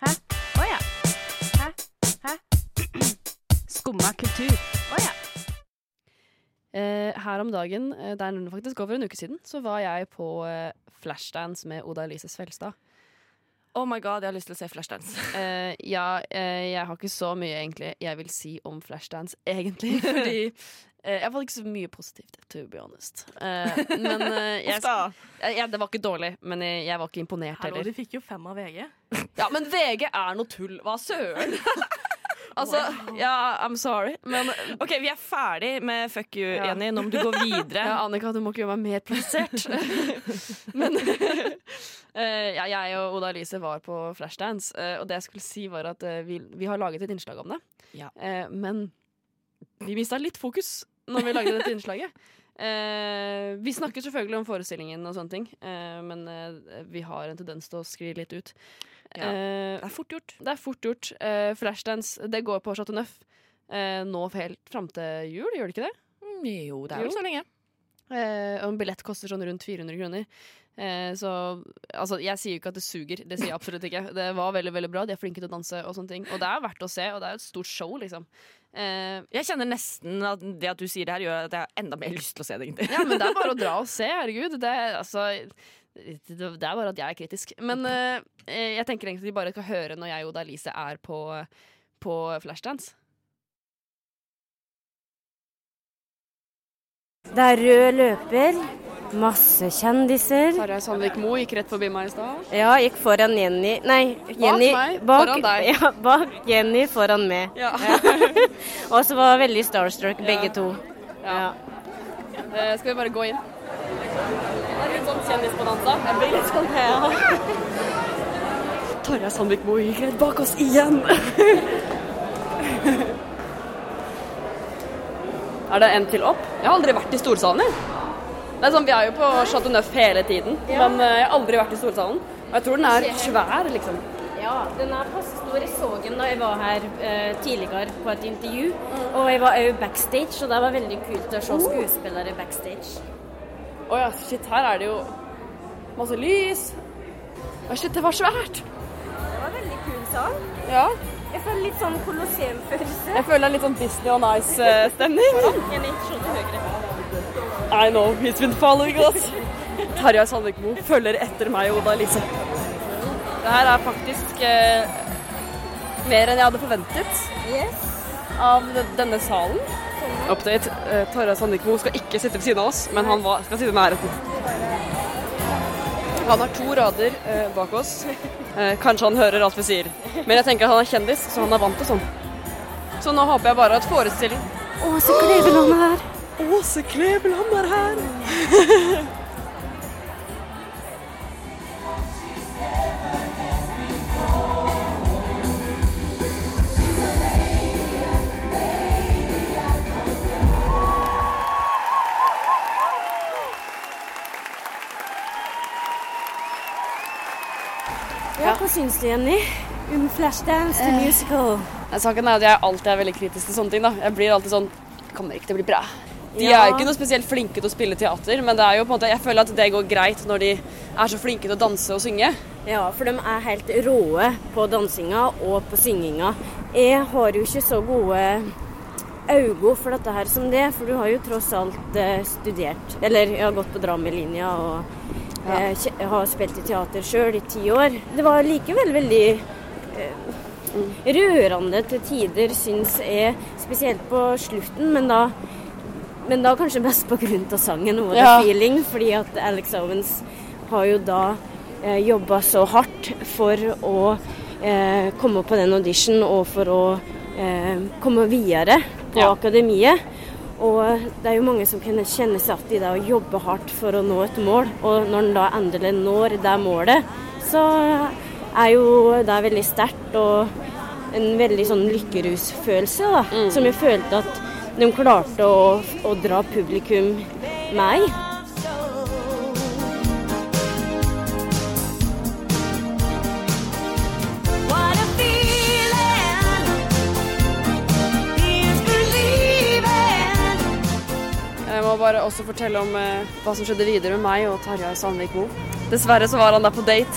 Speaker 11: Hæ? Å ja. Hæ? Hæ? Skumma kultur. Å ja.
Speaker 3: Eh, her om dagen, eh, det er faktisk over en uke siden, så var jeg på eh, flashdance med Oda Elise Svelstad.
Speaker 4: Oh my god, jeg har lyst til å se Flashdance.
Speaker 3: Eh, ja, eh, jeg har ikke så mye egentlig jeg vil si om flashdance, [LAUGHS] egentlig. Fordi eh, jeg fant ikke så mye positivt, to be honest. Eh, men
Speaker 4: [LAUGHS]
Speaker 3: eh, jeg,
Speaker 5: Uff da.
Speaker 3: Eh, ja, det var ikke dårlig, men eh, jeg, jeg var ikke imponert
Speaker 5: Hallo, de
Speaker 3: heller.
Speaker 5: fikk jo fem av VG.
Speaker 3: Ja, men VG er noe tull. Hva søren? [LAUGHS] altså, ja, I'm sorry, men
Speaker 4: OK, vi er ferdig med fuck you,
Speaker 3: Ja.
Speaker 4: Jenny. Nå må du gå videre.
Speaker 3: [LAUGHS] Ja, Annika, du må ikke gjøre meg mer plassert.
Speaker 4: [LAUGHS]
Speaker 3: Men [LAUGHS] eh, ja, jeg og Oda Elise var på Flashdance, eh, og det jeg skulle si, var at eh, vi, vi har laget et innslag om det.
Speaker 4: Ja.
Speaker 3: Eh, men vi mista litt fokus når vi lagde dette innslaget.
Speaker 4: [LAUGHS]
Speaker 3: Eh, vi snakker selvfølgelig om forestillingen, og sånne ting eh, men eh, vi har en tendens til å skli litt ut. det
Speaker 4: Ja.
Speaker 3: er fort gjort. Det er fort gjort. Eh, Flashdance det går på Chateau Neuf eh, nå helt fram til jul, gjør det ikke det?
Speaker 4: Mm, Jo, det er vel så lenge.
Speaker 3: Eh, og en billett koster sånn rundt 400 kroner. Eh, så altså, jeg sier jo ikke at det suger, det sier jeg absolutt ikke. Det var veldig veldig bra, de er flinke til å danse og sånne ting. Og det er verdt å se, og det er et stort show, liksom. Eh,
Speaker 4: Jeg kjenner nesten at det at du sier det her, gjør at jeg har enda mer lyst til å se det, egentlig.
Speaker 3: ja, men det er bare å dra og se, herregud. Det er, altså, det det er bare at jeg er kritisk. Men eh, jeg tenker egentlig at de bare skal høre når jeg og Oda Elise er på, på Flashdance.
Speaker 12: Det er rød løper, masse kjendiser.
Speaker 3: Tarjei Sandvik Mo gikk rett forbi meg i stad.
Speaker 12: Ja, gikk foran Jenny Nei, Jenny
Speaker 3: meg, foran deg.
Speaker 12: [LAUGHS] Ja, bak Jenny, foran meg.
Speaker 3: Ja. [LAUGHS]
Speaker 12: Og så var veldig starstruck, begge to.
Speaker 3: Ja. Eh, skal vi bare gå inn? Det er litt sånn kjendisbonanza. Jeg blir litt sånn [LAUGHS]
Speaker 7: Tarjei Sandvik Moe gikk rett bak oss igjen.
Speaker 3: [LAUGHS] Er det en til opp? Jeg har aldri vært i storsalen, jeg. Det er sånn, vi er jo på Chateau Neuf hele tiden, men eh, jeg har aldri vært i storsalen. Og jeg tror den er svær, liksom.
Speaker 12: Ja, den er passe stor. Jeg så den da jeg var her eh, tidligere på et intervju. Og jeg var òg backstage, og det var veldig kult å se skuespillere backstage.
Speaker 3: Å ja, shit, her er det jo masse lys. Å shit, det var svært.
Speaker 12: Det var veldig kul sang.
Speaker 3: Ja.
Speaker 12: Jeg føler litt sånn Colosseum-følelse.
Speaker 3: Jeg føler det er litt sånn Disney on Ice-stemning.
Speaker 12: Jenny,
Speaker 3: sånn
Speaker 12: se til høyre.
Speaker 3: I know, he's been following us. Tarjei Sandvikmo følger etter meg og liksom- Oda Elise. Det her er faktisk eh, mer enn jeg hadde forventet av de- denne salen. Update. Eh, Tarjei Sandvikmo skal ikke sitte ved siden av oss, men han var, skal sitte i nærheten. Han har to rader eh, bak oss. Eh, kanskje han hører alt vi sier. Men jeg tenker at han er kjendis, så han er vant til sånn. Så nå håper jeg bare at forestilling
Speaker 12: Åse Kleveland er her.
Speaker 3: Åse Kleveland er her.
Speaker 12: Ja, hva syns du, Jenny? Om Flashdance the
Speaker 3: Eh.
Speaker 12: musical?
Speaker 3: Nei, saken er at jeg alltid er veldig kritisk til sånne ting. da. Jeg blir alltid sånn Kommer ikke til å bli bra. De
Speaker 12: Ja.
Speaker 3: er jo ikke noe spesielt flinke til å spille teater, men det er jo på en måte, jeg føler at det går greit når de er så flinke til å danse og synge.
Speaker 12: Ja, for de er helt råe på dansinga og på synginga. Jeg har jo ikke så gode øyne for dette her som det, for du har jo tross alt eh, studert Eller jeg har gått på dramalinja og eh, kje- har spilt i teater sjøl i ti år. Det var likevel veldig eh, rørende til tider, syns jeg. Spesielt på slutten, men da men da kanskje mest på grunn av sangen What a
Speaker 3: Ja.
Speaker 12: Feeling, fordi at Alex Owens har jo da eh, jobba så hardt for å eh, komme på den audition og for å eh, komme videre på
Speaker 3: Ja.
Speaker 12: akademiet. Og det er jo mange som kunne kjenne seg igjen i det å jobbe hardt for å nå et mål, og når en da endelig når det målet, så er jo det veldig sterkt og en veldig sånn lykkerusfølelse, da. Som jeg følte at de klarte å, å dra publikum med i.
Speaker 11: What a feeling is believing.
Speaker 3: Jeg må bare også fortelle om eh, hva som skjedde videre med meg og Tarjei Sandvik Mo. Dessverre så var han der på date.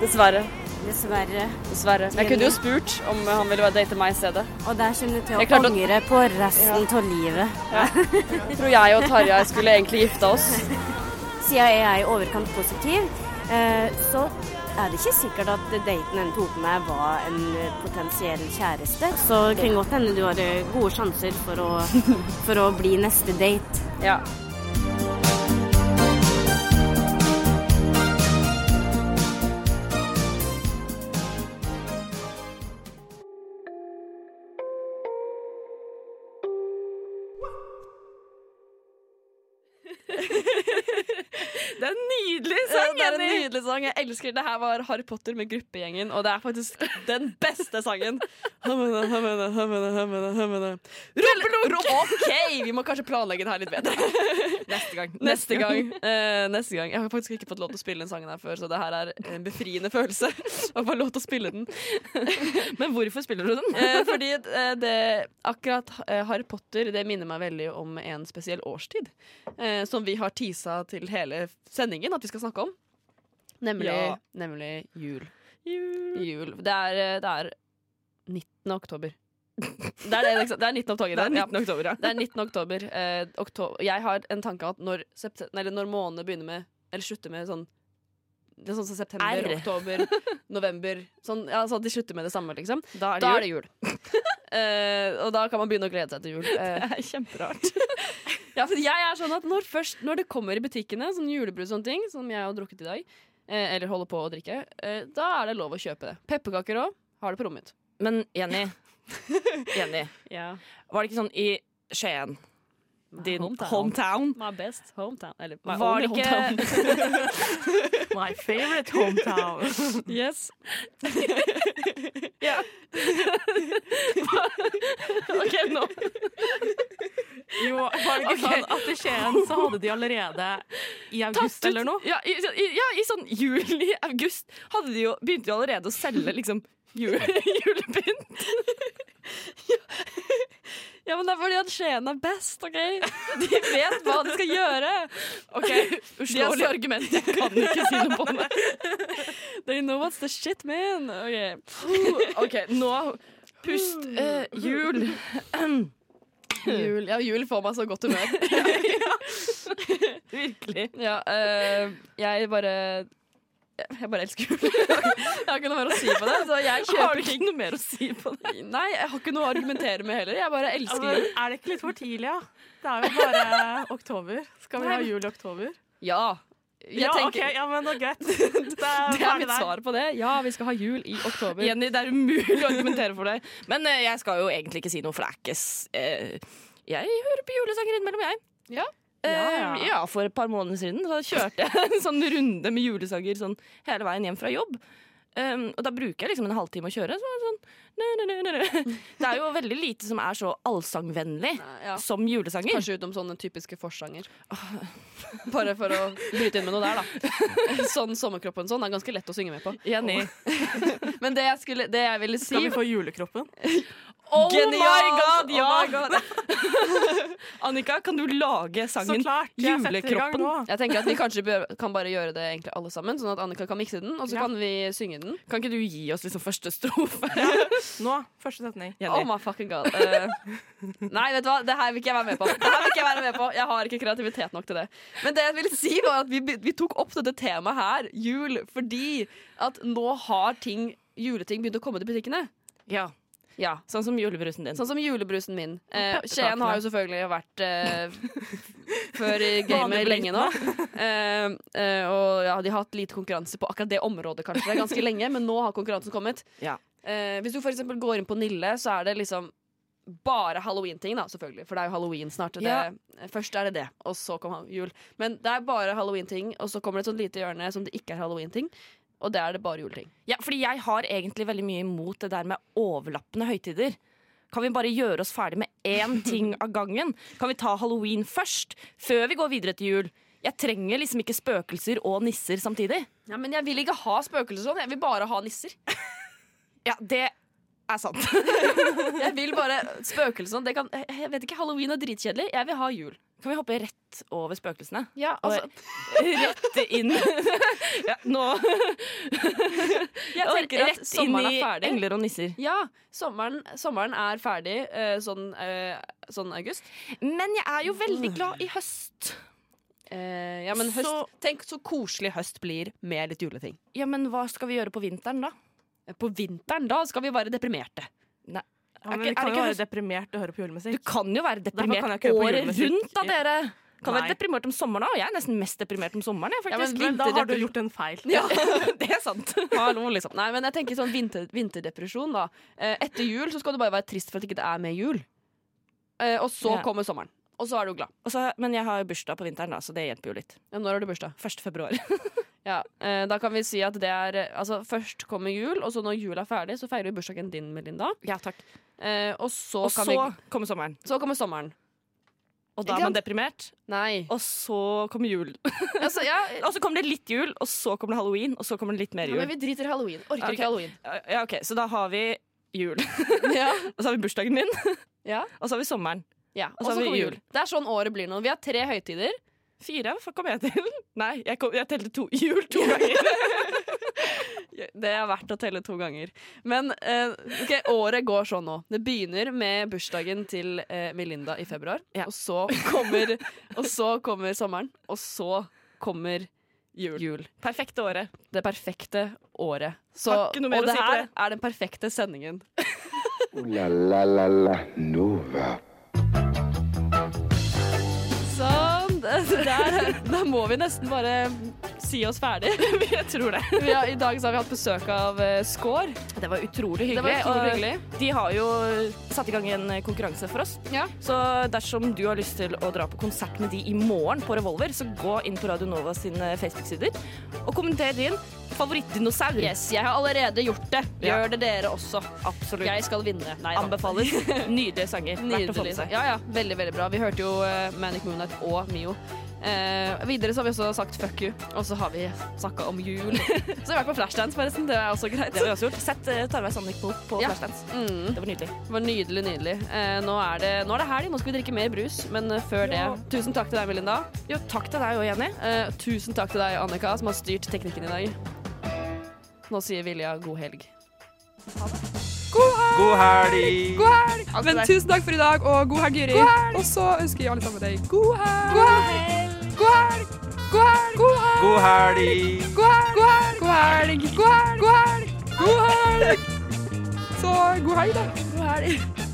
Speaker 3: Dessverre.
Speaker 12: Dessverre.
Speaker 3: Dessverre. Jeg kunne jo spurt om eh, han ville være date meg i stedet.
Speaker 12: Og der kommer du til
Speaker 3: Jeg
Speaker 12: å
Speaker 3: klarte å-
Speaker 12: angre på resten av livet.
Speaker 3: Jeg tror jeg og Tarjei skulle egentlig gifta oss.
Speaker 12: Siden jeg er i overkant positiv, eh, så er det ikke sikkert at daten en tok med var en potensiell kjæreste. Så det kan godt hende du har eh, gode sjanser for å, for å bli neste date.
Speaker 3: Ja. Det er en nydelig
Speaker 4: sang,
Speaker 3: Det er en
Speaker 4: Jenny.
Speaker 3: nydelig sang. Jeg elsker det her var Harry Potter med gruppegjengen, og det er faktisk den beste sangen. Hammene, hammene, hammene, hammene, hammene. Rumpelunk! OK, [LAUGHS] vi må kanskje planlegge det her litt bedre. Neste gang. Neste gang. Eh, neste gang. Jeg har faktisk ikke fått lov til å spille den sangen her før, så det her er en befriende følelse [LAUGHS] å få lov til å spille den. [LAUGHS] Men hvorfor spiller du den? Eh, fordi eh, det, akkurat eh, Harry Potter det minner meg veldig om en spesiell årstid. Eh, som vi har tisa til hele sendingen at vi skal snakke om. Nemlig,
Speaker 4: Ja.
Speaker 3: nemlig jul. Jul. Det, er, eh, det er 19. oktober. Det er, det, liksom. det er 19. oktober.
Speaker 4: Det er 19.
Speaker 3: oktober, ja. Det er 19. oktober. Eh, oktober. Jeg har en tanke at når, septe- nei, eller når månedene begynner med Eller slutter med sånn det er sånn som september,
Speaker 4: R.
Speaker 3: oktober, november sånn, ja, sånn at de slutter med det samme, liksom. Da
Speaker 4: er det jul.
Speaker 3: Eh, og da kan man begynne å glede seg til jul. Eh,
Speaker 4: [LAUGHS] Det er kjemperart.
Speaker 3: [LAUGHS] ja, for jeg er sånn at når, først, når det kommer i butikkene, sånn julebrus og sånne ting, som jeg har drukket i dag, eh, eller holder på å drikke, eh, da er det lov å kjøpe det. Pepperkaker òg. Har det på rommet mitt.
Speaker 4: Men Jenny, Jenny
Speaker 12: [LAUGHS]
Speaker 4: var det ikke sånn i Skien, din
Speaker 3: hometown.
Speaker 4: hometown
Speaker 3: My best hometown. Eller my
Speaker 4: Var det
Speaker 3: only [LAUGHS] hometown.
Speaker 4: ikke
Speaker 5: My favorite hometown.
Speaker 3: [LAUGHS] yes. [LAUGHS]
Speaker 4: Ja. OK, nå.
Speaker 5: Jo, var det ikke
Speaker 4: Ok.
Speaker 5: sånn at i Skien så hadde de allerede i august
Speaker 4: Tatt ut-
Speaker 5: eller noe?
Speaker 4: Ja, i, i, ja, i sånn juli-august de jo, begynte de allerede å selge liksom jul, [LAUGHS] julepynt.
Speaker 3: Ja, men det er fordi at Skien er best, OK? De vet hva de skal gjøre.
Speaker 4: OK, uslåelig argument. Jeg kan ikke si noe på det.
Speaker 3: They know what's the shit, man. OK.
Speaker 4: Oh, OK, nå Pust. Eh, jul.
Speaker 3: Jul, ja, jul får meg så godt [LAUGHS] humør.
Speaker 4: Virkelig.
Speaker 3: Ja, eh, jeg bare Jeg bare elsker jul. Jeg har ikke noe mer å si på det. Så jeg
Speaker 4: Har
Speaker 3: kjøper
Speaker 4: du ikke noe mer å si på det?
Speaker 3: Nei, jeg har ikke noe å argumentere med heller. Jeg bare
Speaker 5: Ja,
Speaker 3: elsker
Speaker 5: men
Speaker 3: jul.
Speaker 5: Altså, er det ikke litt for tidlig, ja? Det er jo bare oktober. Skal vi ha jul i oktober?
Speaker 3: Ja. Jeg
Speaker 5: ja,
Speaker 3: tenker,
Speaker 5: ok, ja, men det er greit. [LAUGHS] Det er,
Speaker 3: Det er mitt svar på det. Ja, vi skal ha jul i oktober.
Speaker 4: Jenny, det er umulig å argumentere for deg. Men eh, jeg skal jo egentlig ikke si noe flækes. Eh, jeg hører på julesanger innimellom, jeg.
Speaker 3: Ja.
Speaker 4: Eh,
Speaker 5: Ja, ja.
Speaker 4: ja, for et par måneder siden så kjørte jeg en sånn runde med julesanger sånn, hele veien hjem fra jobb. Um, og da bruker jeg liksom en halvtime å kjøre. Så er det sånn, nø, nø, nø, nø, nø. Det er jo veldig lite som er så allsangvennlig
Speaker 3: ja.
Speaker 4: som julesanger.
Speaker 3: Kanskje utenom sånne typiske forsanger. Bare for å bryte inn med noe der, da. Sånn sommerkroppen sånn er ganske lett å synge med på.
Speaker 4: Jenny.
Speaker 3: [LAUGHS] Men det jeg, skulle, det jeg ville si
Speaker 5: Skal vi få julekroppen?
Speaker 4: Oh
Speaker 3: Genialt!
Speaker 4: ja!
Speaker 3: Oh my God. [LAUGHS]
Speaker 4: Annika, kan du lage
Speaker 5: Så
Speaker 4: sangen
Speaker 5: klart, jeg setter i gang
Speaker 4: Julekroppen?
Speaker 5: nå.
Speaker 3: Jeg tenker at Vi kanskje bør, kan bare gjøre det egentlig alle sammen, sånn at Annika kan mikse den, og så
Speaker 5: Ja.
Speaker 3: kan vi synge den.
Speaker 4: Kan ikke du gi oss liksom første strofe?
Speaker 5: Nå, første setning.
Speaker 4: Jenny?
Speaker 3: Oh my fucking god. Eh, nei, vet du hva? Det her vil ikke jeg være med på. Det her vil ikke Jeg være med på Jeg har ikke kreativitet nok til det. Men det jeg ville si var at vi, be- vi tok opp dette temaet her, jul, fordi at nå har ting, juleting begynt å komme til butikkene.
Speaker 4: Ja,
Speaker 3: Ja.
Speaker 4: Sånn som julebrusen din.
Speaker 3: Sånn som julebrusen min. Eh,
Speaker 5: pepperkakene.
Speaker 3: Skien har jo selvfølgelig vært eh, før [LAUGHS] i gamet lenge nå. Eh, eh, og ja, de har hatt lite konkurranse på akkurat det området kanskje. Det er ganske lenge, men nå har konkurransen kommet.
Speaker 4: Ja.
Speaker 3: Eh, hvis du for eksempel går inn på Nille, så er det liksom bare halloween-ting, da, selvfølgelig. For det er jo halloween snart. og Det,
Speaker 4: Ja.
Speaker 3: Først er det det, og så kommer jul. Men det er bare halloween-ting, og så kommer det et sånt lite hjørne som det ikke er halloween-ting. Og det er det bare juleting.
Speaker 4: Ja, fordi jeg har egentlig veldig mye imot det der med overlappende høytider. Kan vi bare gjøre oss ferdig med [LAUGHS] én ting av gangen? Kan vi ta halloween først, før vi går videre til jul? Jeg trenger liksom ikke spøkelser og nisser samtidig.
Speaker 3: Ja, men jeg vil ikke ha spøkelser sånn, jeg vil bare ha nisser.
Speaker 4: Ja, det er [LAUGHS] sant.
Speaker 3: sånn. Jeg vil bare spøkelser. Det kan, jeg vet ikke, Halloween er dritkjedelig. Jeg vil ha jul.
Speaker 4: Kan vi hoppe rett over spøkelsene?
Speaker 3: Ja,
Speaker 4: Og
Speaker 3: altså-
Speaker 4: Rett inn ja, Nå
Speaker 3: Jeg
Speaker 4: Orker
Speaker 3: tenker
Speaker 4: at
Speaker 3: at sommeren er ferdig.
Speaker 4: Engler og nisser.
Speaker 3: Ja, sommeren, sommeren er ferdig eh, sånn, eh, sånn august.
Speaker 4: Men jeg er jo [LAUGHS] veldig glad i høst.
Speaker 3: Eh, ja, men høst,
Speaker 4: Så-
Speaker 3: Tenk så koselig høst blir med litt juleting.
Speaker 4: Ja, men hva skal vi gjøre på vinteren, da?
Speaker 3: På vinteren? Da skal vi være deprimerte.
Speaker 4: Nei.
Speaker 5: Ja, men vi kan jo være deprimert og høre på julemusikk.
Speaker 4: Du kan jo være
Speaker 5: Derfor kan jeg
Speaker 4: deprimert
Speaker 5: ikke høre på
Speaker 4: året
Speaker 5: julemusikk.
Speaker 4: rundt, da, dere. Kan
Speaker 5: Nei.
Speaker 4: være deprimert om sommeren òg. Jeg er nesten mest deprimert om sommeren. Jeg,
Speaker 5: Ja, men
Speaker 4: faktisk.
Speaker 5: vel, da har du gjort en feil.
Speaker 3: Ja,
Speaker 4: [LAUGHS]
Speaker 3: det er sant. Hallo, liksom. Nei, men jeg tenker sånn vinter, vinterdepresjon, da. Eh, etter jul så skal du bare være trist for at det ikke er mer jul. Eh, og så
Speaker 4: Ja.
Speaker 3: kommer sommeren. Og så er du glad.
Speaker 4: Og så- men jeg har jo bursdag på vinteren, da, så det hjelper jo litt.
Speaker 3: Ja, når har du bursdag?
Speaker 4: 1. februar.
Speaker 3: Ja, eh, da kan vi si at det er eh, Altså, først kommer jul, og så når jul er ferdig, så feirer vi bursdagen din, Melinda.
Speaker 4: Ja, takk.
Speaker 3: Eh, og så
Speaker 4: Og
Speaker 3: kan
Speaker 4: så
Speaker 3: vi
Speaker 4: kommer sommeren.
Speaker 3: Så kommer sommeren.
Speaker 4: Og da
Speaker 3: Ikke
Speaker 4: er man
Speaker 3: sant?
Speaker 4: deprimert.
Speaker 3: Nei.
Speaker 4: Og så kommer jul.
Speaker 3: Altså, ja,
Speaker 4: [LAUGHS] og så kommer det litt jul, og så kommer det halloween, og så kommer det litt mer
Speaker 3: Ja,
Speaker 4: jul.
Speaker 3: men vi driter i halloween. Orker
Speaker 4: Ok.
Speaker 3: ikke
Speaker 4: [LAUGHS]
Speaker 3: halloween.
Speaker 4: Ja, ok, Så da har vi jul. [LAUGHS]
Speaker 3: Ja.
Speaker 4: og så har vi bursdagen min. [LAUGHS]
Speaker 3: Ja.
Speaker 4: Og så har vi sommeren.
Speaker 3: Ja,
Speaker 4: Og så har vi jul.
Speaker 3: Det er sånn året blir nå. Vi har tre høytider.
Speaker 4: Fire hva kom jeg til. [LAUGHS] Nei, jeg, kom, jeg telte to jul to [LAUGHS] ganger.
Speaker 3: Det er verdt å telle to ganger. Men eh, ok, året går sånn nå. Det begynner med bursdagen til eh, Melinda i februar. Og, så kommer, og så kommer sommeren. Og så kommer jul.
Speaker 4: Perfekte året.
Speaker 3: Det perfekte året. Så,
Speaker 4: Har ikke noe mer
Speaker 3: og
Speaker 4: å
Speaker 3: det
Speaker 4: si på
Speaker 3: her
Speaker 4: det.
Speaker 3: er den perfekte sendingen.
Speaker 2: Ooh la la la la Nova.
Speaker 3: Sånn. det- det Der, da må vi nesten bare si oss ferdig.
Speaker 4: [LAUGHS] Jeg tror det.
Speaker 3: Vi har, I dag så har vi hatt besøk av eh, Skår.
Speaker 4: Det var utrolig hyggelig.
Speaker 3: Det var utrolig hyggelig.
Speaker 4: Og de har jo satt i gang en konkurranse for oss.
Speaker 3: Ja.
Speaker 4: Så dersom du har lyst til å dra på konsert med de i morgen på Revolver, så gå inn på Radio Nova sine Facebook-sider og kommenter din favorittdinosaur.
Speaker 3: Yes, jeg har allerede gjort det.
Speaker 4: Ja.
Speaker 3: Gjør det dere også.
Speaker 4: Absolutt.
Speaker 3: Jeg skal vinne. Nei, da. [LAUGHS]
Speaker 4: [LAUGHS] Anbefaler. Nydelige sanger. Verdt å få
Speaker 3: Nydelig.
Speaker 4: med seg.
Speaker 3: Ja, ja, veldig, veldig bra. Vi hørte jo eh, Manic Moonlight og Mio. Eh, videre så har vi også sagt fuck you, og så har vi snakka om jul.
Speaker 4: [LAUGHS]
Speaker 3: så har vi vært på Flashdance, forresten. Det er også greit.
Speaker 4: Det har vi også gjort. Sett eh, Tarvei Sandvik på, på
Speaker 3: Ja.
Speaker 4: Flashdance.
Speaker 3: Mm,
Speaker 4: Det var nydelig.
Speaker 3: det var nydelig, nydelig. Eh, nå, er det, nå er det helg, nå skal vi drikke mer brus, men eh, før det
Speaker 4: Ja.
Speaker 3: Tusen takk til deg, Melinda.
Speaker 4: Jo, takk til deg òg, Jenny.
Speaker 3: Eh, tusen takk til deg, Annika, som har styrt teknikken i dag. Nå sier Vilja god helg.
Speaker 8: God helg!
Speaker 13: God helg! Men tusen takk for i dag, og god helg, Juri. Og så ønsker vi alle sammen deg god helg! God helg! God helg! God helg! God helg!
Speaker 8: God helg!
Speaker 13: God helg! God helg! God helg! God helg! God helg! Så god helg, da. God helg.